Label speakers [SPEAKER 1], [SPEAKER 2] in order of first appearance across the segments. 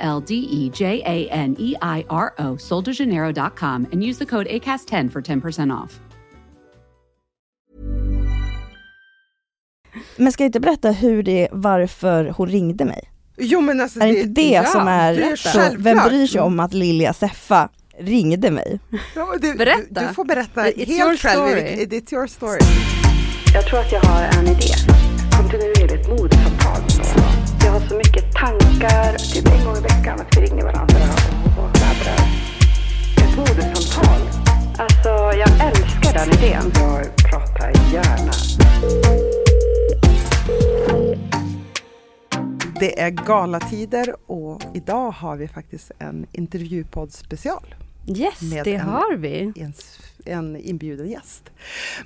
[SPEAKER 1] L D E J A N E I R O, soldejaneiro.com, and use the code ACAST10 for 10% off.
[SPEAKER 2] Men ska jag inte berätta hur det, varför hon ringde mig?
[SPEAKER 3] Jo men alltså
[SPEAKER 2] Är det inte det
[SPEAKER 3] ja,
[SPEAKER 2] som är,
[SPEAKER 3] det
[SPEAKER 2] så,
[SPEAKER 3] självklart.
[SPEAKER 2] vem bryr sig om att Lilja Seffa ringde mig?
[SPEAKER 3] Ja, men du,
[SPEAKER 4] Berätta.
[SPEAKER 3] Du, du får berätta
[SPEAKER 4] It's your
[SPEAKER 3] helt själv.
[SPEAKER 4] story.
[SPEAKER 3] Erik. It's your story.
[SPEAKER 5] Jag tror att jag har en idé. Kontinuerligt modsamtal med någon. Jag har så mycket tankar. Typ en gång i veckan att vi ringer varandra och pladdrar. Ett modesamtal. Alltså, jag älskar den idén. Jag pratar gärna.
[SPEAKER 3] Det är galatider och idag har vi faktiskt en intervjupodd special.
[SPEAKER 4] Yes,
[SPEAKER 3] Med
[SPEAKER 4] det
[SPEAKER 3] en-
[SPEAKER 4] har vi.
[SPEAKER 3] En, s- en inbjuden gäst.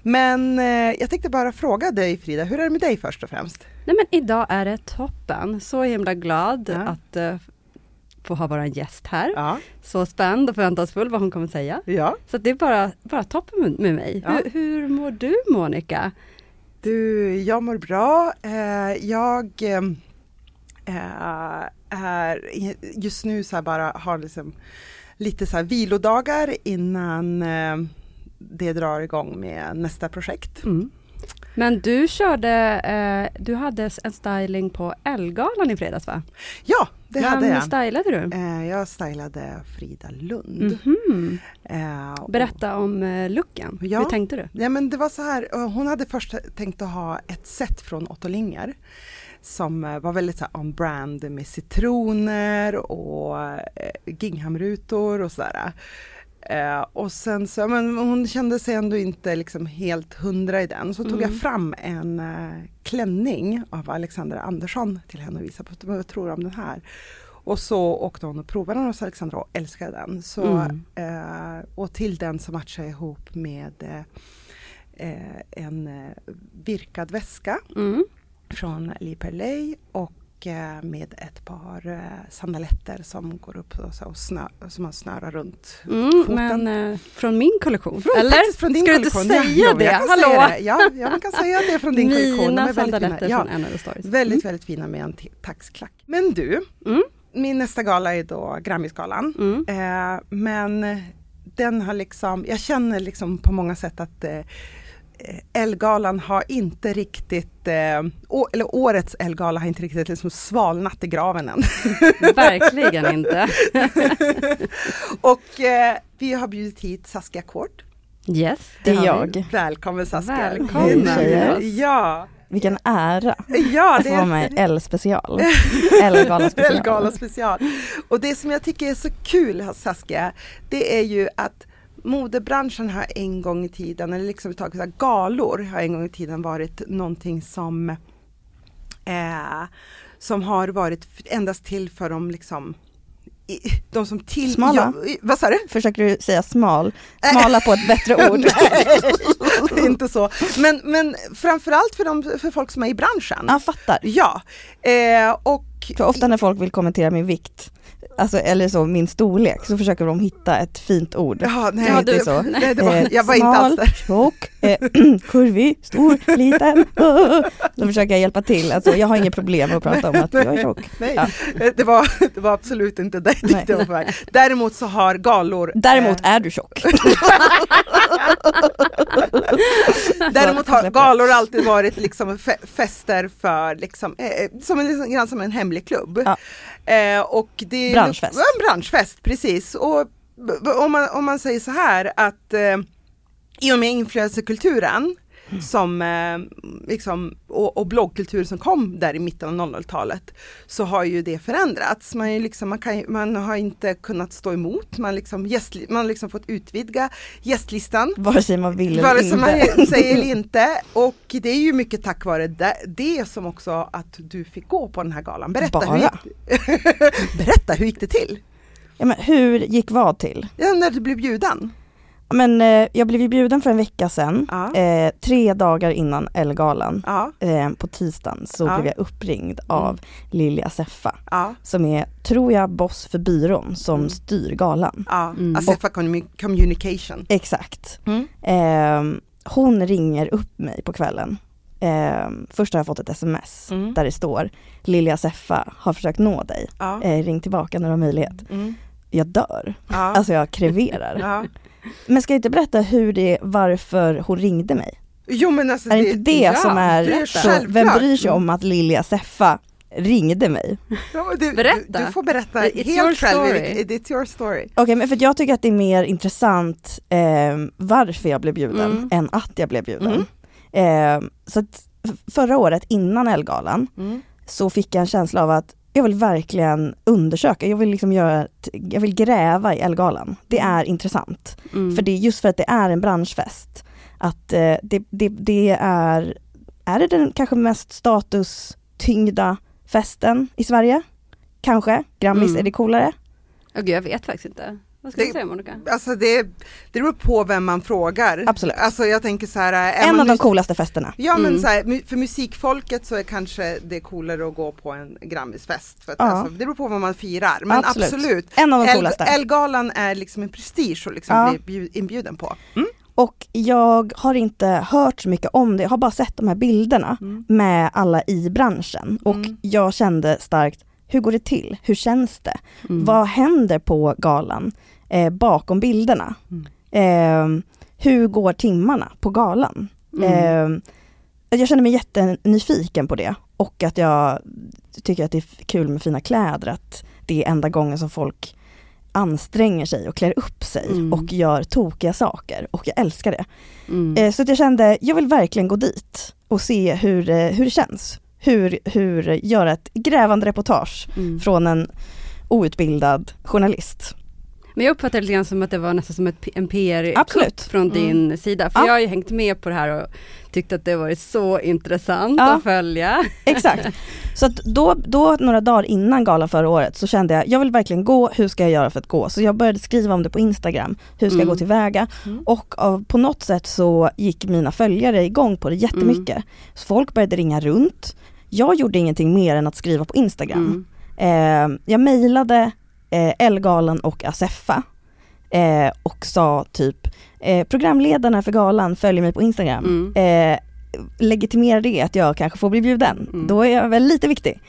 [SPEAKER 3] Men eh, jag tänkte bara fråga dig Frida, hur är det med dig först och främst?
[SPEAKER 4] Nej men idag är det toppen. Så himla glad
[SPEAKER 3] Ja.
[SPEAKER 4] att eh, få ha vår gäst här.
[SPEAKER 3] Ja.
[SPEAKER 4] Så spänd och förväntansfull vad hon kommer säga.
[SPEAKER 3] ja.
[SPEAKER 4] Så att det är bara, bara toppen med, med mig.
[SPEAKER 3] Ja.
[SPEAKER 4] Hur, hur mår du Monica?
[SPEAKER 3] Du, jag mår bra. Eh, jag ehm, eh, är just nu så här bara har liksom lite så här vilodagar innan eh, det drar igång med nästa projekt.
[SPEAKER 1] Mm.
[SPEAKER 4] Men du körde, eh, du hade en styling på Ellegalan i fredags va?
[SPEAKER 3] Ja, det
[SPEAKER 4] Vem
[SPEAKER 3] hade jag.
[SPEAKER 4] stylade du?
[SPEAKER 3] Eh, jag stylade Frida Lund.
[SPEAKER 6] Mm.
[SPEAKER 4] Mhm.
[SPEAKER 3] Eh, och-
[SPEAKER 4] Berätta om eh, looken.
[SPEAKER 3] Ja.
[SPEAKER 4] Hur tänkte du?
[SPEAKER 3] Ja, men det var så här, eh, hon hade först tänkt att ha ett set från Otto Linger som eh, var väldigt så här on brand med citroner och eh, ginghamrutor och sådär. Eh, och sen så, ja, men hon kände sig ändå inte liksom helt hundra i den, så tog jag fram en eh, klänning av Alexandra Andersson till henne och visade på vad jag tror om den här. Och så åkte hon och provade den hos Alexandra och älskade den. Så,
[SPEAKER 4] Mm.
[SPEAKER 3] eh, och till den så matchade jag ihop med eh, eh, en eh, virkad väska
[SPEAKER 4] Mm.
[SPEAKER 3] från Lee Perley och eh, med ett par eh, sandaletter som går upp och, så, och snö, som man snörar runt
[SPEAKER 4] Mm,
[SPEAKER 3] foten.
[SPEAKER 4] men eh, från min kollektion,
[SPEAKER 3] Från,
[SPEAKER 4] eller?
[SPEAKER 3] Faktiskt från din
[SPEAKER 4] Ska du inte
[SPEAKER 3] kollektion.
[SPEAKER 4] säga
[SPEAKER 3] jo,
[SPEAKER 4] det?
[SPEAKER 3] jag kan
[SPEAKER 4] Hallå?
[SPEAKER 3] Säga det. Ja, ja, man kan säga det från din kollektion. De är
[SPEAKER 4] Mina
[SPEAKER 3] väldigt fina.
[SPEAKER 4] sandaletter
[SPEAKER 3] ja,
[SPEAKER 4] från Another Stories.
[SPEAKER 3] Väldigt, väldigt fina med en t- taxklack. Mm. Men du,
[SPEAKER 4] Mm.
[SPEAKER 3] min nästa gala är då Grammisgalan.
[SPEAKER 4] Mm.
[SPEAKER 3] Eh, men den har liksom, jag känner liksom på många sätt att eh, Elgalan har inte riktigt, eh, å, eller årets Elgala har inte riktigt liksom svalnat i graven än.
[SPEAKER 4] Verkligen inte.
[SPEAKER 3] Och eh, vi har bjudit hit Saskia Kort.
[SPEAKER 4] Yes.
[SPEAKER 2] Det är
[SPEAKER 4] har vi.
[SPEAKER 2] jag.
[SPEAKER 3] Välkommen Saskia!
[SPEAKER 4] Välkommen.
[SPEAKER 2] Tjejer.
[SPEAKER 3] Ja,
[SPEAKER 2] Vilken ära
[SPEAKER 3] ja
[SPEAKER 2] att
[SPEAKER 3] det
[SPEAKER 2] få vara
[SPEAKER 3] är
[SPEAKER 2] med i L-special. L-gala special.
[SPEAKER 3] Elgala special. Och det som jag tycker är så kul Saskia, det är ju att modebranschen har en gång i tiden, eller liksom överhuvudtaget så här, galor har en gång i tiden varit någonting som eh, som har varit f- endast till för de liksom i, de som till...
[SPEAKER 2] Smala.
[SPEAKER 3] Ja, i- vad sa du?
[SPEAKER 2] Försöker du säga smal?
[SPEAKER 3] Äh.
[SPEAKER 2] Smala på ett bättre ord.
[SPEAKER 3] Nej, inte så. Men, men framförallt för, de, för folk som är i branschen.
[SPEAKER 2] Ja, fattar.
[SPEAKER 3] Ja, eh, och
[SPEAKER 2] För ofta när folk vill kommentera min vikt, alltså, eller så min storlek, så försöker de hitta ett fint ord.
[SPEAKER 3] Ja, nej,
[SPEAKER 2] Ja,
[SPEAKER 3] det-
[SPEAKER 2] det är så.
[SPEAKER 3] nej, det var,
[SPEAKER 2] Eh,
[SPEAKER 3] jag var inte
[SPEAKER 2] smal,
[SPEAKER 3] alls där.
[SPEAKER 2] tjock, eh, kurvig, stor, liten. Då försöker jag hjälpa till. Alltså, jag har inget problem med att prata om att jag är tjock.
[SPEAKER 3] Nej,
[SPEAKER 2] Ja.
[SPEAKER 3] eh, det, var, det var absolut inte det jag
[SPEAKER 2] Nej.
[SPEAKER 3] tyckte var på väg. Däremot så har galor
[SPEAKER 2] Däremot
[SPEAKER 3] eh,
[SPEAKER 2] är du tjock.
[SPEAKER 3] däremot har
[SPEAKER 2] Släpper.
[SPEAKER 3] galor alltid varit liksom fe, fester för, liksom, eh, eh, som en, liksom, grann som en hemlig klubb.
[SPEAKER 2] Ja.
[SPEAKER 3] Eh, och det,
[SPEAKER 2] Branschfest.
[SPEAKER 3] Ja, En branschfest, precis. Och b- b- om man, om man säger så här att eh, i och med influencerkulturen som eh, liksom och, och bloggkultur som kom där i mitten av 00-talet så har ju det förändrats. Man, är ju liksom, man, kan, ju- man har inte kunnat stå emot, man, liksom, gästli- man har liksom fått utvidga gästlistan
[SPEAKER 2] Vare sig man vill eller
[SPEAKER 3] vare
[SPEAKER 2] inte.
[SPEAKER 3] sig man säger eller inte. Och det är ju mycket tack vare det, det som också att du fick gå på den här galan. Berätta, hur
[SPEAKER 2] Bara.
[SPEAKER 3] gick, berätta hur gick det till?
[SPEAKER 2] Ja, men hur gick vad till?
[SPEAKER 3] Ja, när du blev bjuden?
[SPEAKER 2] Men eh, jag blev ju bjuden för en vecka sedan,
[SPEAKER 3] Ja.
[SPEAKER 2] eh, tre dagar innan Ellegalan.
[SPEAKER 3] Ja,
[SPEAKER 2] Eh, på tisdagen så
[SPEAKER 3] Ja.
[SPEAKER 2] blev jag uppringd av Lilja Seffa
[SPEAKER 3] ja,
[SPEAKER 2] som är, tror jag, boss för byrån som
[SPEAKER 3] Mm.
[SPEAKER 2] styr galan.
[SPEAKER 3] ja.
[SPEAKER 1] Mm.
[SPEAKER 3] Acefa Commu- Communication.
[SPEAKER 2] Exakt.
[SPEAKER 3] Mm.
[SPEAKER 2] Ehm, hon ringer upp mig på kvällen. Ehm, först har jag fått ett sms
[SPEAKER 3] Mm.
[SPEAKER 2] där det står Lilja Seffa har försökt nå dig.
[SPEAKER 3] Ja.
[SPEAKER 2] Eh, ring tillbaka när du har möjlighet.
[SPEAKER 3] Mm.
[SPEAKER 2] Jag dör.
[SPEAKER 3] Ja.
[SPEAKER 2] Alltså jag kreverar.
[SPEAKER 3] Ja.
[SPEAKER 2] Men ska jag inte berätta hur det, varför hon ringde mig?
[SPEAKER 3] Jo men alltså
[SPEAKER 2] Är det inte det
[SPEAKER 3] ja,
[SPEAKER 2] som är,
[SPEAKER 3] det
[SPEAKER 2] så, vem bryr sig om att Lilja Seffa ringde mig?
[SPEAKER 3] Ja, du,
[SPEAKER 1] Berätta.
[SPEAKER 3] Du, du får berätta
[SPEAKER 1] It's your
[SPEAKER 3] helt själv.
[SPEAKER 1] story.
[SPEAKER 3] Erik. It's your story.
[SPEAKER 2] Okej men för att jag tycker att det är mer intressant eh, varför jag blev bjuden
[SPEAKER 1] Mm.
[SPEAKER 2] än att jag blev
[SPEAKER 3] Mm.
[SPEAKER 2] bjuden. Eh, så att f- förra året innan Ellegalan
[SPEAKER 3] Mm.
[SPEAKER 2] så fick jag en känsla av att jag vill verkligen undersöka, jag vill liksom göra, ett- jag vill gräva i Ellegalan. Det är intressant.
[SPEAKER 1] Mm.
[SPEAKER 2] För det är just för att det är en branschfest. Att eh, det, det, det är, är det den kanske mest statustyngda festen i Sverige? Kanske, Grammis,
[SPEAKER 1] Mm.
[SPEAKER 2] är det coolare?
[SPEAKER 1] Åh, gud, jag vet faktiskt inte. Vad ska
[SPEAKER 3] Det-
[SPEAKER 1] du säga Monica?
[SPEAKER 3] Alltså det, det beror på vem man frågar.
[SPEAKER 2] Absolut.
[SPEAKER 3] Alltså jag tänker så här. Är
[SPEAKER 2] en
[SPEAKER 3] man
[SPEAKER 2] av de
[SPEAKER 3] nys-
[SPEAKER 2] coolaste festerna.
[SPEAKER 3] Ja men
[SPEAKER 1] Mm.
[SPEAKER 3] så här, mu- för musikfolket så är kanske det coolare att gå på en Grammisfest. För att,
[SPEAKER 2] Ja.
[SPEAKER 3] alltså, det beror på vad man firar. Men absolut.
[SPEAKER 2] En av de
[SPEAKER 3] El-
[SPEAKER 2] coolaste.
[SPEAKER 3] Elgalan är liksom en prestige att liksom
[SPEAKER 2] Ja. Mm.
[SPEAKER 3] bli bjud- inbjuden på.
[SPEAKER 2] Och jag har inte hört så mycket om det, jag har bara sett de här bilderna
[SPEAKER 3] Mm.
[SPEAKER 2] med alla i branschen. Och
[SPEAKER 3] Mm.
[SPEAKER 2] jag kände starkt, hur går det till? Hur känns det?
[SPEAKER 1] Mm.
[SPEAKER 2] Vad händer på galan eh, bakom bilderna?
[SPEAKER 3] Mm.
[SPEAKER 2] Eh, hur går timmarna på galan?
[SPEAKER 1] Mm.
[SPEAKER 2] Eh, jag känner mig jättenyfiken på det och att jag tycker att det är kul med fina kläder, att det är enda gången som folk anstränger sig och klär upp sig
[SPEAKER 1] Mm.
[SPEAKER 2] och gör tokiga saker och jag älskar det.
[SPEAKER 1] Mm.
[SPEAKER 2] Eh, Så att jag kände, jag vill verkligen gå dit och se hur, eh, hur det känns. Hur, hur, göra ett grävande reportage
[SPEAKER 1] Mm.
[SPEAKER 2] från en outbildad journalist.
[SPEAKER 1] Men jag uppfattar det lite grann som att det var nästan som ett, P- en
[SPEAKER 2] Absolut.
[SPEAKER 1] PR-kupp från
[SPEAKER 3] Mm.
[SPEAKER 1] din sida. För
[SPEAKER 2] Ja.
[SPEAKER 1] jag har ju hängt med på det här och tyckt att det varit så intressant
[SPEAKER 2] Ja.
[SPEAKER 1] att följa.
[SPEAKER 2] Exakt. Så att då, då, några dagar innan galan förra året, så kände jag, jag vill verkligen gå, hur ska jag göra för att gå? Så jag började skriva om det på Instagram, hur ska
[SPEAKER 1] Mm.
[SPEAKER 2] jag gå tillväga?
[SPEAKER 3] Mm.
[SPEAKER 2] Och av, på något sätt så gick mina följare igång på det jättemycket.
[SPEAKER 1] Mm.
[SPEAKER 2] Så folk började ringa runt. Jag gjorde ingenting mer än att skriva på Instagram.
[SPEAKER 1] Mm.
[SPEAKER 2] Eh, jag mejlade eh, Elgalan och Asefa eh, och sa typ eh, programledarna för galan följer mig på Instagram.
[SPEAKER 1] Mm.
[SPEAKER 2] Eh, legitimerar det att jag kanske får bli bjuden?
[SPEAKER 1] Mm.
[SPEAKER 2] Då är jag väl lite viktig.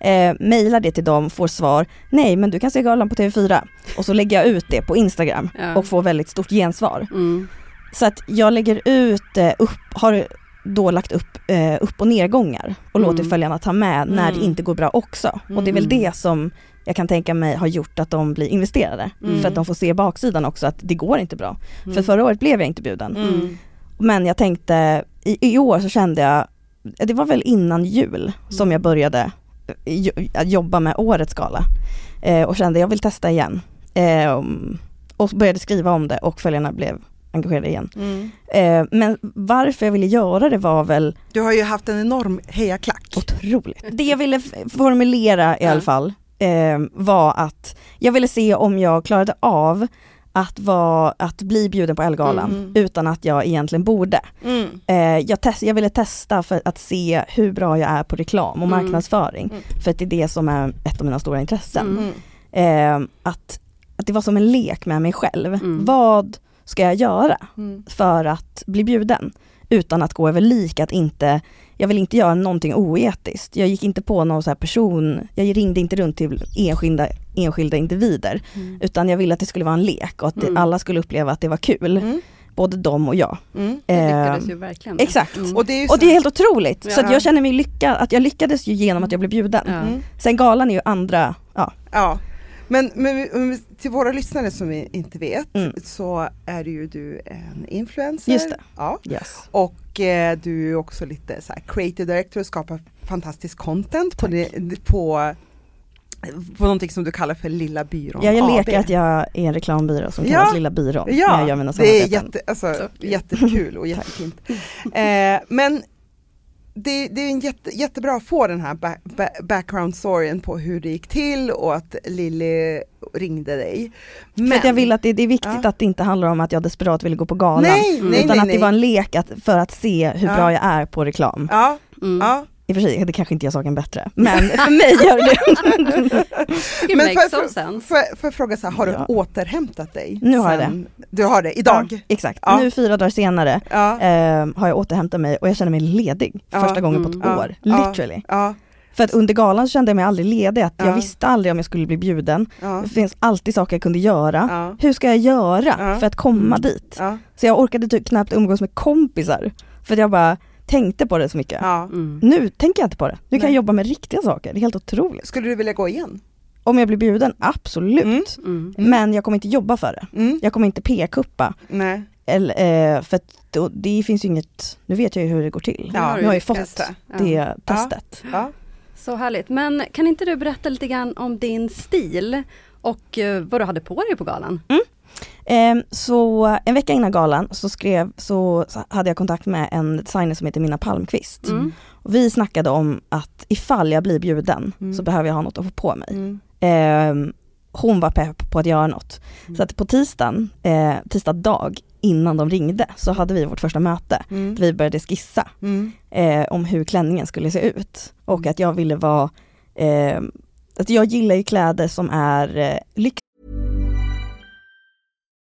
[SPEAKER 2] Eh, mejlar det till dem, får svar, nej men du kan se galan på TV4. Och så lägger jag ut det på Instagram
[SPEAKER 1] Ja.
[SPEAKER 2] och får väldigt stort gensvar.
[SPEAKER 1] Mm.
[SPEAKER 2] Så att jag lägger ut, eh, upp, har då lagt upp eh, upp och nedgångar och
[SPEAKER 1] Mm.
[SPEAKER 2] låter följarna ta med när
[SPEAKER 3] Mm.
[SPEAKER 2] det inte går bra också. Och det är väl
[SPEAKER 1] Mm.
[SPEAKER 2] det som jag kan tänka mig har gjort att de blir investerade.
[SPEAKER 3] Mm.
[SPEAKER 2] För att de får se baksidan också att det går inte bra.
[SPEAKER 3] Mm.
[SPEAKER 2] För förra året blev jag inte bjuden.
[SPEAKER 3] Mm.
[SPEAKER 2] Men jag tänkte, i, i år så kände jag, eh, det var väl innan jul som
[SPEAKER 3] Mm.
[SPEAKER 2] jag började eh, jo- att jobba med årets gala. Eh, och kände jag vill testa igen. Eh, och började skriva om det och följarna blev engagerade igen.
[SPEAKER 3] Mm.
[SPEAKER 2] Eh, men varför jag ville göra det var väl
[SPEAKER 3] Du har ju haft en enorm hejaklack.
[SPEAKER 2] otroligt. Det jag ville f- formulera i
[SPEAKER 1] Ja.
[SPEAKER 2] alla fall eh, var att jag ville se om jag klarade av att, vara, att bli bjuden på Ellegalan
[SPEAKER 3] Mm.
[SPEAKER 2] utan att jag egentligen borde.
[SPEAKER 3] Mm.
[SPEAKER 2] Eh, jag, test, jag ville testa för att se hur bra jag är på reklam och
[SPEAKER 1] Mm.
[SPEAKER 2] marknadsföring.
[SPEAKER 3] Mm.
[SPEAKER 2] För att det är det som är ett av mina stora intressen.
[SPEAKER 1] Mm.
[SPEAKER 3] Mm.
[SPEAKER 2] Eh, att, att det var som en lek med mig själv.
[SPEAKER 1] Mm.
[SPEAKER 2] Vad ska jag göra?
[SPEAKER 3] Mm.
[SPEAKER 2] för att bli bjuden utan att gå över lik, att inte, jag vill inte göra någonting oetiskt. Jag gick inte på någon så här person, jag ringde inte runt till enskilda, enskilda individer
[SPEAKER 3] Mm.
[SPEAKER 2] utan jag ville att det skulle vara en lek och att det,
[SPEAKER 1] Mm.
[SPEAKER 2] alla skulle uppleva att det var kul,
[SPEAKER 3] Mm.
[SPEAKER 2] både de och jag.
[SPEAKER 3] Mm.
[SPEAKER 1] Det
[SPEAKER 2] Eh,
[SPEAKER 1] lyckades ju verkligen. med.
[SPEAKER 2] exakt.
[SPEAKER 1] Mm.
[SPEAKER 3] Och det är ju
[SPEAKER 2] Och
[SPEAKER 3] så-
[SPEAKER 2] det är helt otroligt, så att
[SPEAKER 3] Ja.
[SPEAKER 2] jag känner mig lyckad, att jag lyckades ju genom att jag blev bjuden.
[SPEAKER 1] Ja.
[SPEAKER 3] Mm.
[SPEAKER 2] Sen galan är ju andra, ja.
[SPEAKER 3] Ja, men, men men till våra lyssnare som inte vet
[SPEAKER 2] Mm.
[SPEAKER 3] så är ju du en influencer.
[SPEAKER 2] Just det.
[SPEAKER 3] Ja.
[SPEAKER 2] Yes.
[SPEAKER 3] Och eh, du är också lite så här creative director och skapar fantastisk content på, det, på, på någonting som du kallar för Lilla byrån
[SPEAKER 2] Ja, jag
[SPEAKER 3] AB.
[SPEAKER 2] leker att jag är en reklambyrå som
[SPEAKER 3] Ja.
[SPEAKER 2] kallas Lilla byrån. när jag gör mina
[SPEAKER 3] det är
[SPEAKER 2] samarbeten.
[SPEAKER 3] jätte, alltså, jättekul och jättefint. Eh, men det, det är en jätte, jättebra att få den här ba- ba- background storyn på hur det gick till och att Lilly ringde dig. Men,
[SPEAKER 2] För att jag vill att det, det är viktigt
[SPEAKER 3] Ja.
[SPEAKER 2] att det inte handlar om att jag desperat ville gå på galan.
[SPEAKER 3] nej,
[SPEAKER 2] utan
[SPEAKER 3] nej, nej,
[SPEAKER 2] att
[SPEAKER 3] nej.
[SPEAKER 2] det var en lek att, för att se hur
[SPEAKER 3] Ja.
[SPEAKER 2] bra jag är på reklam.
[SPEAKER 3] Ja,
[SPEAKER 4] Mm.
[SPEAKER 3] ja.
[SPEAKER 2] I och för sig, det kanske inte gör saken bättre. Men för mig gör det det.
[SPEAKER 4] It
[SPEAKER 3] Men
[SPEAKER 4] makes
[SPEAKER 3] får
[SPEAKER 4] some
[SPEAKER 3] jag-
[SPEAKER 4] sense.
[SPEAKER 3] Får jag- får jag fråga så här, har
[SPEAKER 2] Ja.
[SPEAKER 3] du återhämtat dig?
[SPEAKER 2] Nu har jag
[SPEAKER 3] det. Du har det, idag?
[SPEAKER 2] Exakt,
[SPEAKER 3] Ja.
[SPEAKER 2] nu fyra dagar senare
[SPEAKER 3] Ja. Ja.
[SPEAKER 2] ehm, har jag återhämtat mig och jag känner mig ledig
[SPEAKER 3] Ja.
[SPEAKER 2] första gången på
[SPEAKER 4] Mm.
[SPEAKER 2] ett
[SPEAKER 3] Ja.
[SPEAKER 2] år.
[SPEAKER 3] Ja.
[SPEAKER 2] Literally.
[SPEAKER 3] Ja.
[SPEAKER 2] För att under galan så kände jag mig aldrig ledig, att
[SPEAKER 3] Ja.
[SPEAKER 2] jag visste aldrig om jag skulle bli bjuden.
[SPEAKER 3] Ja.
[SPEAKER 2] Det finns alltid saker jag kunde göra.
[SPEAKER 3] Ja.
[SPEAKER 2] Hur ska jag göra
[SPEAKER 3] Ja. Mm.
[SPEAKER 2] för att komma dit?
[SPEAKER 3] Ja.
[SPEAKER 2] Så jag orkade typ knappt umgås med kompisar för att jag bara tänkte på det så mycket.
[SPEAKER 4] Mm.
[SPEAKER 2] Nu tänker jag inte på det. Nu kan
[SPEAKER 3] Nej.
[SPEAKER 2] jag jobba med riktiga saker, det är helt otroligt.
[SPEAKER 3] Skulle du vilja gå igen?
[SPEAKER 2] Om jag blir bjuden, absolut.
[SPEAKER 4] Mm.
[SPEAKER 3] Mm.
[SPEAKER 2] Men jag kommer inte jobba för det.
[SPEAKER 3] Mm.
[SPEAKER 2] Jag kommer inte p-kuppa.
[SPEAKER 3] Nej.
[SPEAKER 2] Eller, eh, för att då, det finns ju inget, nu vet jag ju hur det går till.
[SPEAKER 3] Ja,
[SPEAKER 2] nu har jag ju fått
[SPEAKER 3] testa.
[SPEAKER 2] det
[SPEAKER 4] Ja.
[SPEAKER 2] testet.
[SPEAKER 3] Ja.
[SPEAKER 6] Så härligt. Men kan inte du berätta lite grann om din stil och eh, vad du hade på dig på galan?
[SPEAKER 2] Ehm, så en vecka innan galan så, skrev, så så hade jag kontakt med en designer som heter Minna Palmqvist.
[SPEAKER 6] Mm.
[SPEAKER 2] Och vi snackade om att ifall jag blir bjuden
[SPEAKER 3] Mm.
[SPEAKER 2] så behöver jag ha något att få på mig.
[SPEAKER 3] Mm.
[SPEAKER 2] Ehm, hon var pepp på att göra något.
[SPEAKER 3] Mm.
[SPEAKER 2] Så att på tisdagen, eh, tisdag dag innan de ringde så hade vi vårt första möte.
[SPEAKER 3] Mm.
[SPEAKER 2] Vi började skissa
[SPEAKER 3] Mm.
[SPEAKER 2] eh, om hur klänningen skulle se ut och att jag ville vara, eh, att jag gillar ju kläder som är eh, lyxiga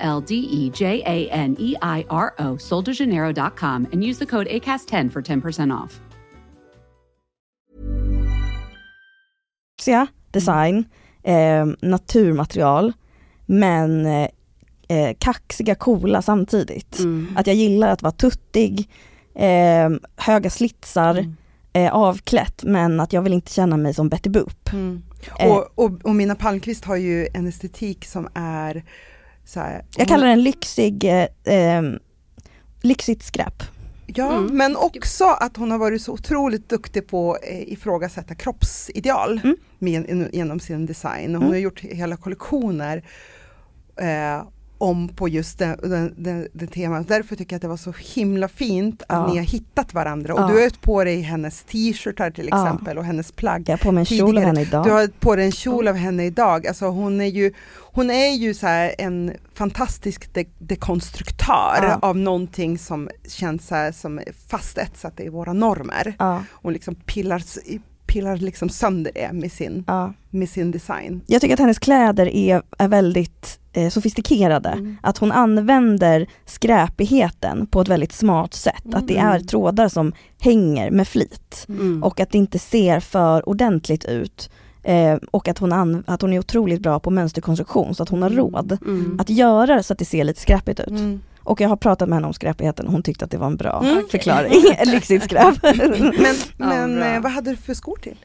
[SPEAKER 1] L D E J A N E I R O, soldejaneiro.com, and use the code ACAST10 for 10% off.
[SPEAKER 3] Mm.
[SPEAKER 2] design, eh, naturmaterial, men eh, eh, kaxiga, coola samtidigt. Att jag gillar att vara tuttig, eh, höga slitsar,
[SPEAKER 3] Mm.
[SPEAKER 2] eh, avklätt men att jag vill inte känna mig som Betty Boop.
[SPEAKER 3] Mm.
[SPEAKER 2] Eh.
[SPEAKER 3] Och, och, och Mina Palmqvist har ju en estetik som är så här,
[SPEAKER 2] Jag kallar den lyxig, eh, ehm, lyxigt skräp.
[SPEAKER 3] Ja,
[SPEAKER 6] Mm.
[SPEAKER 3] men också att hon har varit så otroligt duktig på att eh, ifrågasätta kroppsideal
[SPEAKER 2] Mm.
[SPEAKER 3] med, genom sin design. Hon
[SPEAKER 2] Mm.
[SPEAKER 3] har gjort hela kollektioner eh, om på just det, det, det, det temat. Därför tycker jag att det var så himla fint att
[SPEAKER 2] Ja.
[SPEAKER 3] ni har hittat varandra. Och
[SPEAKER 2] Ja.
[SPEAKER 3] du har ett på dig hennes t-shirtar till
[SPEAKER 2] Ja.
[SPEAKER 3] exempel och hennes plagg.
[SPEAKER 2] Jag har på mig en kjol av
[SPEAKER 3] Tidigare.
[SPEAKER 2] henne idag.
[SPEAKER 3] Du har på dig en kjol av henne idag. Alltså hon är ju, hon är ju så här en fantastisk de- dekonstruktör
[SPEAKER 2] Ja.
[SPEAKER 3] av någonting som känns så här som är fastetsat i våra normer.
[SPEAKER 2] Ja,
[SPEAKER 3] Hon liksom pillar, s- pillar liksom sönder det med sin,
[SPEAKER 2] ja.
[SPEAKER 3] med sin design.
[SPEAKER 2] Jag tycker att hennes kläder är, är väldigt eh, sofistikerade.
[SPEAKER 3] Mm.
[SPEAKER 2] Att hon använder skräpigheten på ett väldigt smart sätt. Att
[SPEAKER 3] Mm.
[SPEAKER 2] det är trådar som hänger med flit och att det inte ser för ordentligt ut. Eh, och att hon, an- att hon är otroligt bra på mönsterkonstruktion så att hon har råd att göra så att det ser lite skräpigt ut.
[SPEAKER 3] Mm.
[SPEAKER 2] Och jag har pratat med henne om skräpigheten och hon tyckte att det var en bra
[SPEAKER 3] Mm.
[SPEAKER 2] förklaring. Lyxigt skräp.
[SPEAKER 3] Men,
[SPEAKER 6] Ja,
[SPEAKER 3] men
[SPEAKER 6] bra.
[SPEAKER 3] eh, vad hade du för skor till?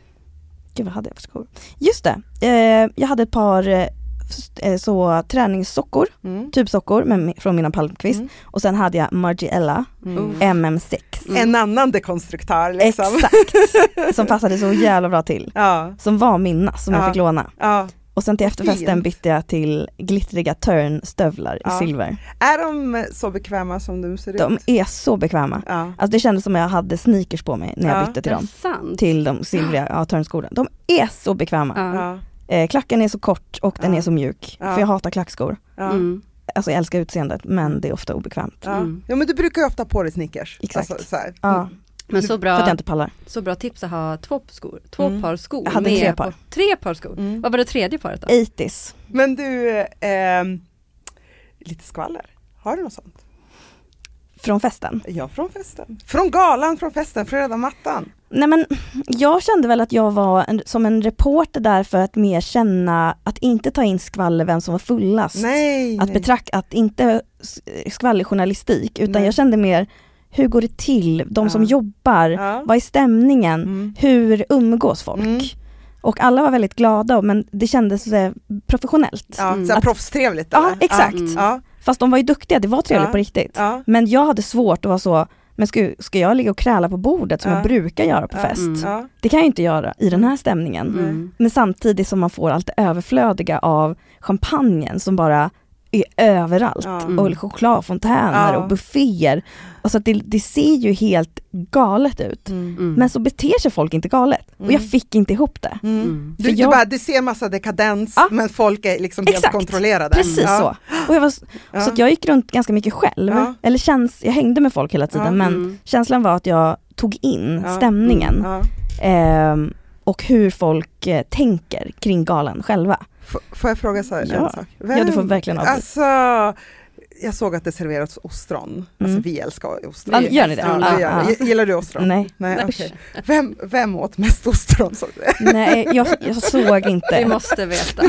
[SPEAKER 2] Gud vad hade jag för skor? Just det, eh, jag hade ett par eh, s- eh, så träningssockor,
[SPEAKER 3] Mm.
[SPEAKER 2] tubsockor med, från mina Palmqvist
[SPEAKER 3] Mm.
[SPEAKER 2] och sen hade jag Margiela
[SPEAKER 3] Mm.
[SPEAKER 2] MM6.
[SPEAKER 3] En annan dekonstruktör liksom.
[SPEAKER 2] Exakt! Som passade så jävla bra till.
[SPEAKER 3] Ja,
[SPEAKER 2] Som var mina, som
[SPEAKER 3] Ja.
[SPEAKER 2] jag fick låna.
[SPEAKER 3] ja.
[SPEAKER 2] Och sen till efterfesten
[SPEAKER 3] Fint.
[SPEAKER 2] bytte jag till glittriga turnstövlar
[SPEAKER 3] Ja.
[SPEAKER 2] i silver.
[SPEAKER 3] Är de eh, så bekväma som de ser ut?
[SPEAKER 2] De är så bekväma.
[SPEAKER 3] Ja.
[SPEAKER 2] Alltså det kändes som att jag hade sneakers på mig när jag
[SPEAKER 3] Ja.
[SPEAKER 2] bytte till dem.
[SPEAKER 6] Intressant.
[SPEAKER 2] Till de silvriga ja, turnskorna. De är så bekväma.
[SPEAKER 6] Ja.
[SPEAKER 3] Ja.
[SPEAKER 2] Eh, klacken är så kort och den
[SPEAKER 3] Ja.
[SPEAKER 2] är så mjuk.
[SPEAKER 3] Ja.
[SPEAKER 2] För jag hatar klackskor.
[SPEAKER 3] Ja.
[SPEAKER 6] Mm.
[SPEAKER 2] Alltså jag älskar utseendet
[SPEAKER 3] Mm.
[SPEAKER 2] men det är ofta obekvämt.
[SPEAKER 3] Ja.
[SPEAKER 6] Mm.
[SPEAKER 3] ja men du brukar ju ofta ha på dig sneakers.
[SPEAKER 2] Exakt.
[SPEAKER 3] Alltså, så här.
[SPEAKER 2] Ja,
[SPEAKER 6] Men så
[SPEAKER 2] för att jag
[SPEAKER 6] bra,
[SPEAKER 2] inte pallar.
[SPEAKER 6] så bra tips att ha två, skor, två
[SPEAKER 3] Mm.
[SPEAKER 6] par skor.
[SPEAKER 2] Jag hade
[SPEAKER 6] med
[SPEAKER 2] tre par.
[SPEAKER 6] På, tre par skor.
[SPEAKER 3] Mm.
[SPEAKER 6] Vad var det tredje paret då?
[SPEAKER 2] 80s.
[SPEAKER 3] Men du, ehm, lite skvaller, har du något sånt?
[SPEAKER 2] från festen.
[SPEAKER 3] Ja, från festen. Från galan, från festen, från röda mattan.
[SPEAKER 2] Nej men jag kände väl att jag var en, som en reporter där för att mer känna, att inte ta in skvaller vem som var fullast.
[SPEAKER 3] Nej,
[SPEAKER 2] Att
[SPEAKER 3] nej.
[SPEAKER 2] betrakta, att inte s- skvallerjournalistik utan
[SPEAKER 3] Nej.
[SPEAKER 2] jag kände mer, hur går det till? De som
[SPEAKER 3] Ja.
[SPEAKER 2] jobbar,
[SPEAKER 3] Ja.
[SPEAKER 2] vad är stämningen?
[SPEAKER 3] Mm.
[SPEAKER 2] Hur umgås folk?
[SPEAKER 3] Mm.
[SPEAKER 2] Och alla var väldigt glada men det kändes eh, professionellt.
[SPEAKER 3] Ja,
[SPEAKER 6] Mm.
[SPEAKER 3] så här
[SPEAKER 2] Att-
[SPEAKER 3] proffstrevligt.
[SPEAKER 2] Ja,
[SPEAKER 3] eller?
[SPEAKER 2] exakt.
[SPEAKER 6] Mm.
[SPEAKER 3] Ja,
[SPEAKER 2] Fast de var ju duktiga, det var trevligt
[SPEAKER 3] Ja.
[SPEAKER 2] på riktigt.
[SPEAKER 3] ja,
[SPEAKER 2] Men jag hade svårt att vara så, men ska, ska jag ligga och kräla på bordet som
[SPEAKER 3] Ja.
[SPEAKER 2] jag brukar göra på
[SPEAKER 3] Ja.
[SPEAKER 2] fest?
[SPEAKER 6] Mm.
[SPEAKER 3] ja,
[SPEAKER 2] Det kan jag ju inte göra i den här stämningen.
[SPEAKER 6] Mm.
[SPEAKER 2] Men samtidigt som man får allt det överflödiga av champagnen som bara är överallt.
[SPEAKER 3] ja.
[SPEAKER 6] Mm.
[SPEAKER 2] Och chokladfontäner
[SPEAKER 3] Ja.
[SPEAKER 2] och bufféer. Alltså att det, det ser ju helt galet ut.
[SPEAKER 3] Mm.
[SPEAKER 6] Mm.
[SPEAKER 2] Men så beter sig folk inte galet. Och jag
[SPEAKER 3] Mm.
[SPEAKER 2] fick inte ihop det.
[SPEAKER 3] Mm.
[SPEAKER 6] Mm.
[SPEAKER 3] Du,
[SPEAKER 2] För
[SPEAKER 3] du,
[SPEAKER 2] jag-
[SPEAKER 3] bara, du ser massa dekadens
[SPEAKER 2] Ja.
[SPEAKER 3] men folk är liksom helt
[SPEAKER 2] Exakt.
[SPEAKER 3] kontrollerade.
[SPEAKER 2] Precis
[SPEAKER 3] ja.
[SPEAKER 2] så. Och jag var, s-
[SPEAKER 3] Ja.
[SPEAKER 2] Så att jag gick runt ganska mycket själv.
[SPEAKER 3] Ja.
[SPEAKER 2] Eller känns, jag hängde med folk hela tiden
[SPEAKER 3] Ja.
[SPEAKER 2] men
[SPEAKER 6] Mm.
[SPEAKER 2] känslan var att jag tog in
[SPEAKER 3] Ja. Mm.
[SPEAKER 2] stämningen.
[SPEAKER 3] Ja.
[SPEAKER 2] Ehm, och hur folk eh, tänker kring galan själva.
[SPEAKER 3] F- Får jag fråga så här,
[SPEAKER 2] Ja.
[SPEAKER 3] en sak?
[SPEAKER 2] Ja, du får verkligen avbryta.
[SPEAKER 3] Alltså, jag såg att det serverats ostron. Alltså
[SPEAKER 2] Mm.
[SPEAKER 3] vi älskar ostron.
[SPEAKER 2] Ja, gör ni det?
[SPEAKER 3] Ja, vi gör
[SPEAKER 2] Ja,
[SPEAKER 3] det. G- Gillar du ostron?
[SPEAKER 2] Nej.
[SPEAKER 3] Nej,
[SPEAKER 6] Usch.
[SPEAKER 3] okej. vem, vem åt mest ostron? såg du?
[SPEAKER 2] Nej, jag, jag såg
[SPEAKER 6] Vi
[SPEAKER 2] inte.
[SPEAKER 6] måste veta.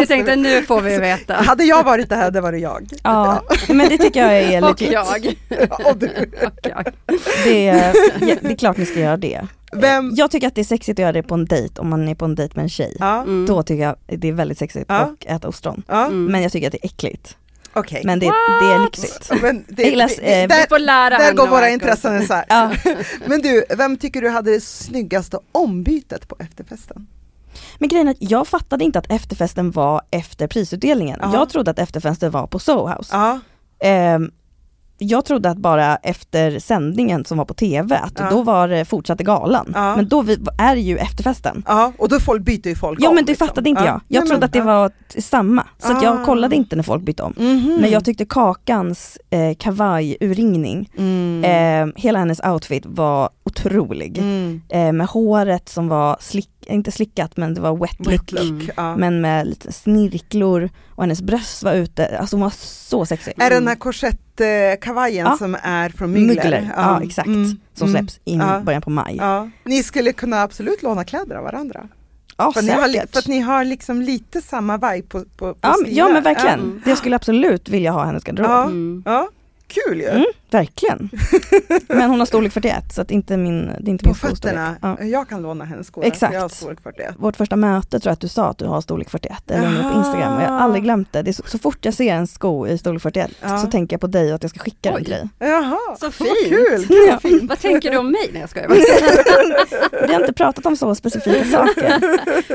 [SPEAKER 6] Vi tänkte nu får vi veta.
[SPEAKER 3] Hade jag varit det här, det var det jag.
[SPEAKER 2] Ja, men det tycker jag är
[SPEAKER 6] Och
[SPEAKER 2] legit.
[SPEAKER 6] jag.
[SPEAKER 3] Ja, Och du.
[SPEAKER 6] Och jag.
[SPEAKER 2] Det, är- ja, det är klart ni ska göra det.
[SPEAKER 3] Vem?
[SPEAKER 2] Jag tycker att det är sexigt att göra det på en dejt, om man är på en dejt med en tjej.
[SPEAKER 3] Ja,
[SPEAKER 6] Mm.
[SPEAKER 2] Då tycker jag det är väldigt sexigt
[SPEAKER 3] Ja.
[SPEAKER 2] att äta ostron.
[SPEAKER 3] ja
[SPEAKER 6] Mm.
[SPEAKER 2] Men jag tycker att det är äckligt.
[SPEAKER 3] okej.
[SPEAKER 2] Men det, det är lyxigt.
[SPEAKER 3] Men det,
[SPEAKER 2] Jag gillar, eh,
[SPEAKER 6] Vi får lära
[SPEAKER 3] där
[SPEAKER 6] Hanna
[SPEAKER 3] går
[SPEAKER 6] och
[SPEAKER 3] våra
[SPEAKER 6] Marco.
[SPEAKER 3] intressen isär.
[SPEAKER 2] Ja.
[SPEAKER 3] Men du, vem tycker du hade det snyggaste ombytet på efterfesten?
[SPEAKER 2] Men grejen är att jag fattade inte att efterfesten var efter prisutdelningen.
[SPEAKER 3] Ja.
[SPEAKER 2] Jag trodde att efterfesten var på Soho House.
[SPEAKER 3] Ja,
[SPEAKER 2] Ehm, jag trodde att bara efter sändningen som var på TV, att
[SPEAKER 3] Ja.
[SPEAKER 2] då var det fortsatte galan.
[SPEAKER 3] Ja.
[SPEAKER 2] Men då vi, är det ju efterfesten.
[SPEAKER 3] ja och då folk, byter ju folk
[SPEAKER 2] Ja
[SPEAKER 3] om,
[SPEAKER 2] men det
[SPEAKER 3] liksom.
[SPEAKER 2] fattade inte
[SPEAKER 3] Ja.
[SPEAKER 2] jag.
[SPEAKER 3] Nej,
[SPEAKER 2] Jag
[SPEAKER 3] men-
[SPEAKER 2] trodde att det
[SPEAKER 3] ja.
[SPEAKER 2] var t- samma. Så att
[SPEAKER 3] Ah.
[SPEAKER 2] jag kollade inte när folk bytte om.
[SPEAKER 3] Mhm.
[SPEAKER 2] Men jag tyckte Kakans eh, kavajurringning,
[SPEAKER 3] Mm.
[SPEAKER 2] eh, hela hennes outfit var otrolig.
[SPEAKER 3] Mm.
[SPEAKER 2] Eh, med håret som var, slick, inte slickat men det var wet look.
[SPEAKER 3] Wet look.
[SPEAKER 6] Mm.
[SPEAKER 3] Ja.
[SPEAKER 2] Men med lite snirklor och hennes bröst var ute, alltså hon var så sexig.
[SPEAKER 3] Är det den här korsettkavajen
[SPEAKER 2] Ja.
[SPEAKER 3] som är från Müller?
[SPEAKER 2] Mügler, ja, exakt.
[SPEAKER 3] Mm.
[SPEAKER 2] Som
[SPEAKER 3] Mm.
[SPEAKER 2] släpps i
[SPEAKER 3] Ja.
[SPEAKER 2] början på maj.
[SPEAKER 3] Ja. Ni skulle kunna absolut låna kläder av varandra.
[SPEAKER 2] Ja,
[SPEAKER 3] För, ni har, li-
[SPEAKER 2] säkert.
[SPEAKER 3] för att ni har liksom lite samma vibe på, på, på
[SPEAKER 2] ja, men- ja
[SPEAKER 3] stilar.
[SPEAKER 2] men verkligen.
[SPEAKER 6] Mm.
[SPEAKER 2] Jag skulle absolut vilja ha hennes garderob.
[SPEAKER 3] Ja.
[SPEAKER 6] Mm.
[SPEAKER 3] Ja. Ja. Kul ju!
[SPEAKER 2] Mm, verkligen. Men hon har storlek 41 så att inte min, det är inte
[SPEAKER 3] På
[SPEAKER 2] min skostorlek.
[SPEAKER 3] fötterna.
[SPEAKER 2] Ja.
[SPEAKER 3] Jag kan låna hennes skor.
[SPEAKER 2] Exakt.
[SPEAKER 3] Jag har storlek för det.
[SPEAKER 2] Vårt första möte tror jag att du sa att du har storlek 41 eller om det var på Instagram och jag har aldrig glömt det. det är så, så fort jag ser en sko i storlek 41
[SPEAKER 3] Ja.
[SPEAKER 2] så tänker jag på dig och att jag ska skicka den
[SPEAKER 6] Oj.
[SPEAKER 2] till dig.
[SPEAKER 3] Jaha,
[SPEAKER 6] Så
[SPEAKER 3] vad
[SPEAKER 6] fint.
[SPEAKER 3] kul!
[SPEAKER 2] Ja.
[SPEAKER 6] Vad tänker du om mig? när jag skojar bara.
[SPEAKER 2] Vi har inte pratat om så specifika saker.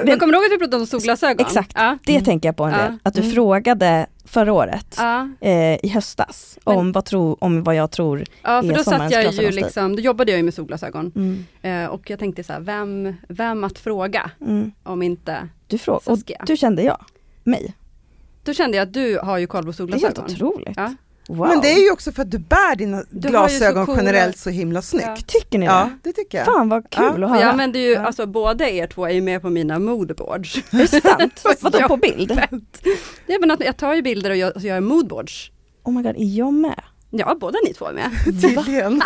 [SPEAKER 6] Men kommer du ihåg att vi pratade om solglasögon?
[SPEAKER 2] Exakt.
[SPEAKER 6] Ja.
[SPEAKER 2] Det tänker jag på en
[SPEAKER 6] Ja.
[SPEAKER 2] del. Att du frågade förra året
[SPEAKER 6] Ja.
[SPEAKER 2] eh, i höstas om, vad tro, om vad jag tror.
[SPEAKER 6] ja,
[SPEAKER 2] Är
[SPEAKER 6] för då satt
[SPEAKER 2] sommarens
[SPEAKER 6] jag ju
[SPEAKER 2] glasögon stil?
[SPEAKER 6] liksom, då jobbade jag ju med solglasögon.
[SPEAKER 2] Mm,
[SPEAKER 6] Eh, och jag tänkte så här, vem, vem att fråga
[SPEAKER 2] mm.
[SPEAKER 6] om inte...
[SPEAKER 2] Du frågade, och
[SPEAKER 6] Saskia.
[SPEAKER 2] du kände jag, mig.
[SPEAKER 6] Då kände jag att du har ju koll på
[SPEAKER 2] Det är helt
[SPEAKER 6] solglasögon.
[SPEAKER 2] otroligt.
[SPEAKER 6] Ja.
[SPEAKER 2] Wow.
[SPEAKER 3] Men det är ju också för att du bär dina
[SPEAKER 6] ju
[SPEAKER 3] glasögon
[SPEAKER 6] så coola-
[SPEAKER 3] generellt så himla snyggt.
[SPEAKER 2] Tycker ni
[SPEAKER 3] Ja,
[SPEAKER 2] det?
[SPEAKER 3] det tycker jag.
[SPEAKER 2] Fan vad kul att
[SPEAKER 6] För
[SPEAKER 2] höra.
[SPEAKER 6] jag använder ju, alltså båda er två är ju med på mina moodboards.
[SPEAKER 2] Är det sant? Vadå
[SPEAKER 6] Ja.
[SPEAKER 2] på bild?
[SPEAKER 6] Nej men att jag tar ju bilder och gör, så gör jag moodboards.
[SPEAKER 2] Oh my god, är jag med?
[SPEAKER 6] Ja, båda ni två är med.
[SPEAKER 3] Tydligen.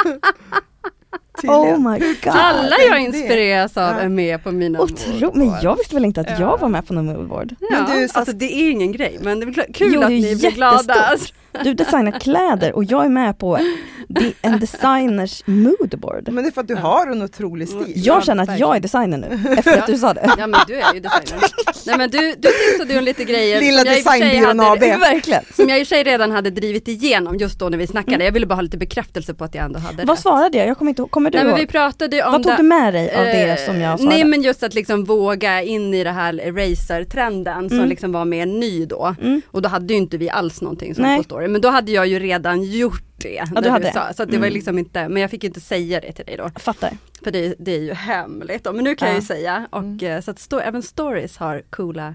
[SPEAKER 2] Oh
[SPEAKER 3] Tydligen.
[SPEAKER 2] my god.
[SPEAKER 6] Alla
[SPEAKER 3] det är
[SPEAKER 6] jag
[SPEAKER 3] det.
[SPEAKER 6] inspireras av
[SPEAKER 3] Ja.
[SPEAKER 6] är med på mina
[SPEAKER 2] Otro,
[SPEAKER 6] moodboards.
[SPEAKER 2] men jag visste väl inte att
[SPEAKER 6] Ja.
[SPEAKER 2] jag var med på någon moodboard.
[SPEAKER 6] Ja,
[SPEAKER 3] Men du, Sas-
[SPEAKER 6] alltså det är ingen grej, men det är kl- kul
[SPEAKER 2] Jo, det
[SPEAKER 6] att
[SPEAKER 2] är
[SPEAKER 6] ni blir
[SPEAKER 2] jättestort.
[SPEAKER 6] glada.
[SPEAKER 2] Du designar kläder och jag är med på de- en designers moodboard.
[SPEAKER 3] Men det är för att du har en otrolig stil.
[SPEAKER 2] Typ. Jag känner att jag är designer nu, efter att du sa det.
[SPEAKER 6] Ja men du är ju designer. Nej men du, du tipsade ju om lite grejer
[SPEAKER 3] Lilla
[SPEAKER 6] som jag i och för sig
[SPEAKER 3] designbyrån
[SPEAKER 6] hade-
[SPEAKER 3] AB.
[SPEAKER 2] Verkligen.
[SPEAKER 6] Som jag i och för sig redan hade drivit igenom just då när vi snackade. Jag ville bara ha lite bekräftelse på att jag ändå hade
[SPEAKER 2] Mm. Vad
[SPEAKER 6] rätt.
[SPEAKER 2] svarade jag? Jag kommer inte ihåg. Kommer du
[SPEAKER 6] Nej men vi
[SPEAKER 2] ihåg?
[SPEAKER 6] pratade ju om
[SPEAKER 2] Vad tog
[SPEAKER 6] det-
[SPEAKER 2] du med dig av det
[SPEAKER 6] Eh,
[SPEAKER 2] som jag
[SPEAKER 6] Nej
[SPEAKER 2] svarade?
[SPEAKER 6] men just att liksom våga in i det här racer-trenden som liksom var mer ny då.
[SPEAKER 2] Mm.
[SPEAKER 6] Och då hade ju inte vi alls någonting som
[SPEAKER 2] Nej.
[SPEAKER 6] på story. Men då hade jag ju redan gjort det. när
[SPEAKER 2] du hade Mm. det.
[SPEAKER 6] sa, så att det var ju liksom inte, men jag fick ju inte säga det till dig då.
[SPEAKER 2] Jag Fattar.
[SPEAKER 6] För det, det är ju hemligt. då. Men nu kan jag ju
[SPEAKER 2] Ja. Mm.
[SPEAKER 6] säga. Och, eh, Så att sto- även stories har coola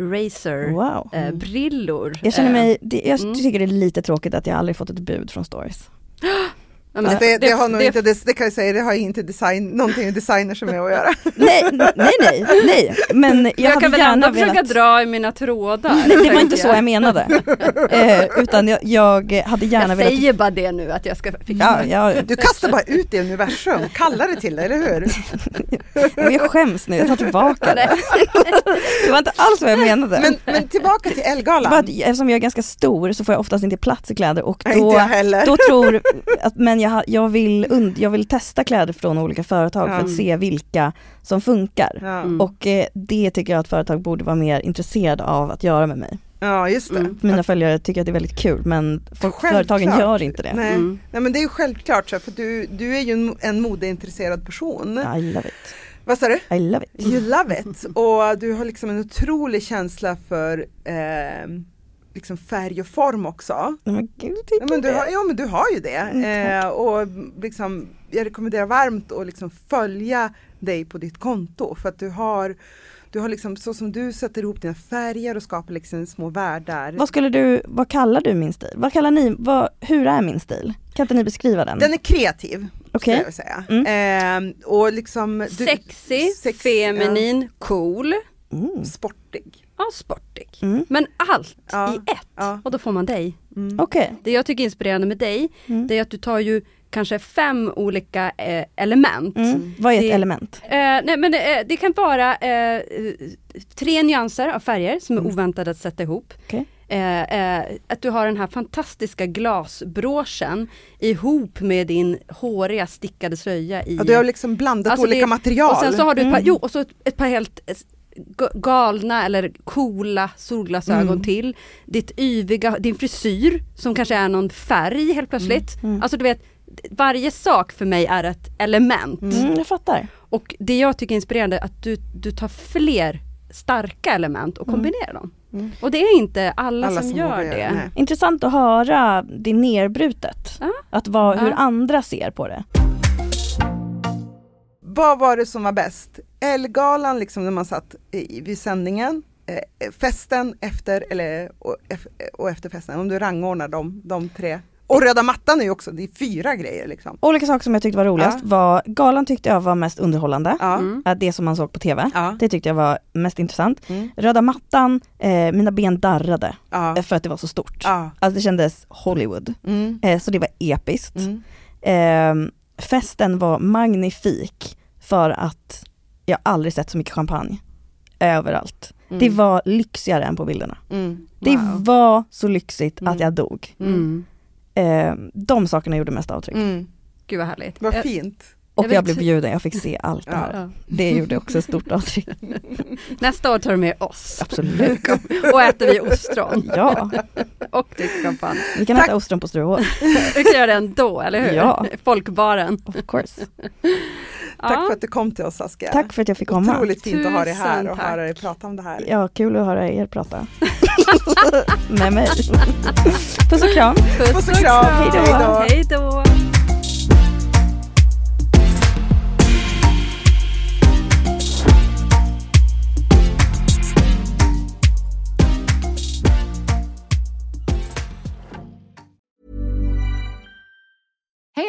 [SPEAKER 6] racer
[SPEAKER 2] Wow.
[SPEAKER 6] eh, brillor.
[SPEAKER 2] Jag känner
[SPEAKER 6] Eh,
[SPEAKER 2] mig, det, jag
[SPEAKER 6] Mm.
[SPEAKER 2] tycker det är lite tråkigt att jag aldrig fått ett bud från stories.
[SPEAKER 6] Ja, Eh, men
[SPEAKER 3] Fast det, det, har nog
[SPEAKER 6] det-
[SPEAKER 3] inte, det, det kan jag säga, det har inte design, någonting med designers som jag att göra.
[SPEAKER 2] Nej, nej, nej, nej. men jag,
[SPEAKER 6] Jag,
[SPEAKER 2] hade
[SPEAKER 6] kan väl
[SPEAKER 2] gärna
[SPEAKER 6] ändå
[SPEAKER 2] velat...
[SPEAKER 6] försöka dra i mina trådar.
[SPEAKER 2] Nej, det var inte
[SPEAKER 6] tänker
[SPEAKER 2] så jag menade. Eh, utan jag, jag hade gärna Mm.
[SPEAKER 6] Jag
[SPEAKER 2] velat...
[SPEAKER 6] säger bara det nu att jag ska fixa
[SPEAKER 2] Ja,
[SPEAKER 6] det.
[SPEAKER 2] jag,
[SPEAKER 3] Du kastar bara ut det i universum, kallar det till det, eller hur?
[SPEAKER 2] men jag skäms nu, jag tar tillbaka det. Det var inte alls vad jag menade.
[SPEAKER 3] Men, men tillbaka till
[SPEAKER 2] Det var att,
[SPEAKER 3] Elgalan.
[SPEAKER 2] eftersom jag är ganska stor så får jag oftast inte plats i kläder och
[SPEAKER 3] Nej,
[SPEAKER 2] då,
[SPEAKER 3] inte jag heller.
[SPEAKER 2] då tror, att, men jag, ha- jag, vill und, jag vill testa kläder från olika företag för att
[SPEAKER 3] Ja.
[SPEAKER 2] se vilka som funkar.
[SPEAKER 3] Ja,
[SPEAKER 6] Mm.
[SPEAKER 2] Och eh, det tycker jag att företag borde vara mer intresserade av att göra med mig.
[SPEAKER 3] ja just det.
[SPEAKER 6] Mm.
[SPEAKER 2] För Mina följare tycker att det är väldigt kul men folk,
[SPEAKER 3] Självklart.
[SPEAKER 2] företagen gör inte det.
[SPEAKER 3] Nej.
[SPEAKER 6] Mm.
[SPEAKER 3] Nej men det är ju självklart så, här, för du, du är ju en, en modeintresserad person.
[SPEAKER 2] I love it.
[SPEAKER 3] Vad sa du?
[SPEAKER 2] I love it.
[SPEAKER 3] You love it! Och du har liksom en otrolig känsla för eh, liksom färg och form också.
[SPEAKER 2] Nej, Men gud,
[SPEAKER 3] Ja
[SPEAKER 2] tycker
[SPEAKER 3] men, du
[SPEAKER 2] det.
[SPEAKER 3] har, ja men du har ju det.
[SPEAKER 6] Mm,
[SPEAKER 3] Eh, och liksom, jag rekommenderar varmt att liksom följa dig på ditt konto för att du har, du har liksom, så som du sätter ihop dina färger och skapar liksom små världar.
[SPEAKER 2] Vad skulle du, vad kallar du min stil? Vad kallar ni, vad, hur är min stil? Kan inte ni beskriva den?
[SPEAKER 3] Den är kreativ, skulle
[SPEAKER 2] Okej.
[SPEAKER 3] jag vilja säga.
[SPEAKER 6] Mm.
[SPEAKER 3] Eh, och liksom, du,
[SPEAKER 6] Sexig,
[SPEAKER 3] sex-
[SPEAKER 6] feminin, cool,
[SPEAKER 3] ja, sportig.
[SPEAKER 6] ja sportig.
[SPEAKER 2] Mm.
[SPEAKER 6] Men allt
[SPEAKER 3] Ja,
[SPEAKER 6] i ett.
[SPEAKER 3] ja.
[SPEAKER 6] Och då får man dig.
[SPEAKER 3] Mm.
[SPEAKER 2] Okej,
[SPEAKER 6] Det jag tycker är inspirerande med dig,
[SPEAKER 2] Mm.
[SPEAKER 6] det är att du tar ju kanske fem olika eh, element.
[SPEAKER 2] mm. vad är ett
[SPEAKER 6] Det-
[SPEAKER 2] element?
[SPEAKER 6] Eh, nej, men det, eh, det kan vara eh, eh, tre nyanser av färger som är
[SPEAKER 3] Mm.
[SPEAKER 6] oväntade att sätta ihop.
[SPEAKER 2] Okej.
[SPEAKER 6] Eh, eh, att du har den här fantastiska glasbråschen ihop med din håriga stickade slöja i...
[SPEAKER 3] Ja, du har Mm. liksom blandat
[SPEAKER 6] Alltså
[SPEAKER 3] olika
[SPEAKER 6] det-
[SPEAKER 3] material.
[SPEAKER 6] Och sen så har du ett par, jo, och så ett, ett par helt eh, ga- galna eller coola solglasögon
[SPEAKER 3] Mm.
[SPEAKER 6] till. Ditt yviga, din frisyr som kanske är någon färg helt plötsligt.
[SPEAKER 3] Mm.
[SPEAKER 6] Alltså du vet, varje sak för mig är ett element.
[SPEAKER 2] Mm, jag fattar.
[SPEAKER 6] Och det jag tycker är inspirerande är att du, du tar fler starka element
[SPEAKER 3] Mm.
[SPEAKER 6] och kombinerar dem. Och det är inte alla, som, gör
[SPEAKER 3] vågar
[SPEAKER 6] det.
[SPEAKER 3] nej.
[SPEAKER 2] Intressant att höra det nerbrutet.
[SPEAKER 6] Ja.
[SPEAKER 2] Att vad, hur
[SPEAKER 6] Ja.
[SPEAKER 2] andra ser på det.
[SPEAKER 3] Vad var det som var bäst? Elgalan liksom när man satt i, vid sändningen, eh, festen efter eller, och, eff- och efter festen, om du rangordnar dem, de tre. Och röda mattan är ju också, det är fyra grejer liksom.
[SPEAKER 2] Olika saker som jag tyckte var roligast
[SPEAKER 3] Ja.
[SPEAKER 2] var, galan tyckte jag var mest underhållande.
[SPEAKER 3] Ja. Mm.
[SPEAKER 2] Att Det som man såg på TV.
[SPEAKER 3] Ja.
[SPEAKER 2] Det tyckte jag var mest intressant.
[SPEAKER 3] Mm.
[SPEAKER 2] Röda mattan, eh, mina ben darrade
[SPEAKER 3] Ja.
[SPEAKER 2] eh, för att det var så stort.
[SPEAKER 3] Ja.
[SPEAKER 2] Alltså det kändes Hollywood.
[SPEAKER 3] Mm.
[SPEAKER 2] Eh, så det var episkt.
[SPEAKER 3] Mm.
[SPEAKER 2] Ehm, festen var magnifik för att jag aldrig sett så mycket champagne överallt. Det var lyxigare än på bilderna.
[SPEAKER 3] Mm.
[SPEAKER 2] Det
[SPEAKER 6] Wow.
[SPEAKER 2] var så lyxigt att jag dog.
[SPEAKER 6] Mm.
[SPEAKER 2] Ehm, de sakerna gjorde mest avtryck.
[SPEAKER 3] Mm.
[SPEAKER 6] Gud vad härligt. Eh,
[SPEAKER 3] Vad
[SPEAKER 6] Jag-
[SPEAKER 3] fint.
[SPEAKER 2] Och
[SPEAKER 6] Jag
[SPEAKER 2] jag,
[SPEAKER 6] vet-
[SPEAKER 2] blev bjuden, jag fick se allt det här.
[SPEAKER 6] Ja.
[SPEAKER 2] Det gjorde också ett stort avtryck.
[SPEAKER 6] Nästa år tar du med oss
[SPEAKER 2] Absolut.
[SPEAKER 6] och äter vi ostron
[SPEAKER 2] Ja,
[SPEAKER 6] och dricker champagne.
[SPEAKER 2] vi kan
[SPEAKER 3] Tack.
[SPEAKER 2] äta ostron på Sturehof.
[SPEAKER 6] Vi kan göra det ändå, eller hur?
[SPEAKER 2] Ja.
[SPEAKER 6] Folkbaren.
[SPEAKER 2] Of course.
[SPEAKER 3] Tack för att du kom till oss Saskia.
[SPEAKER 2] Tack för att jag fick komma.
[SPEAKER 3] Otroligt fint att ha dig här
[SPEAKER 6] Tusen
[SPEAKER 3] och
[SPEAKER 6] tack.
[SPEAKER 3] höra dig prata om det här.
[SPEAKER 2] Ja, kul att höra er prata. Med mig. Puss och kram.
[SPEAKER 3] Puss och kram.
[SPEAKER 2] Hej
[SPEAKER 3] då.
[SPEAKER 6] Hej då.
[SPEAKER 1] Hey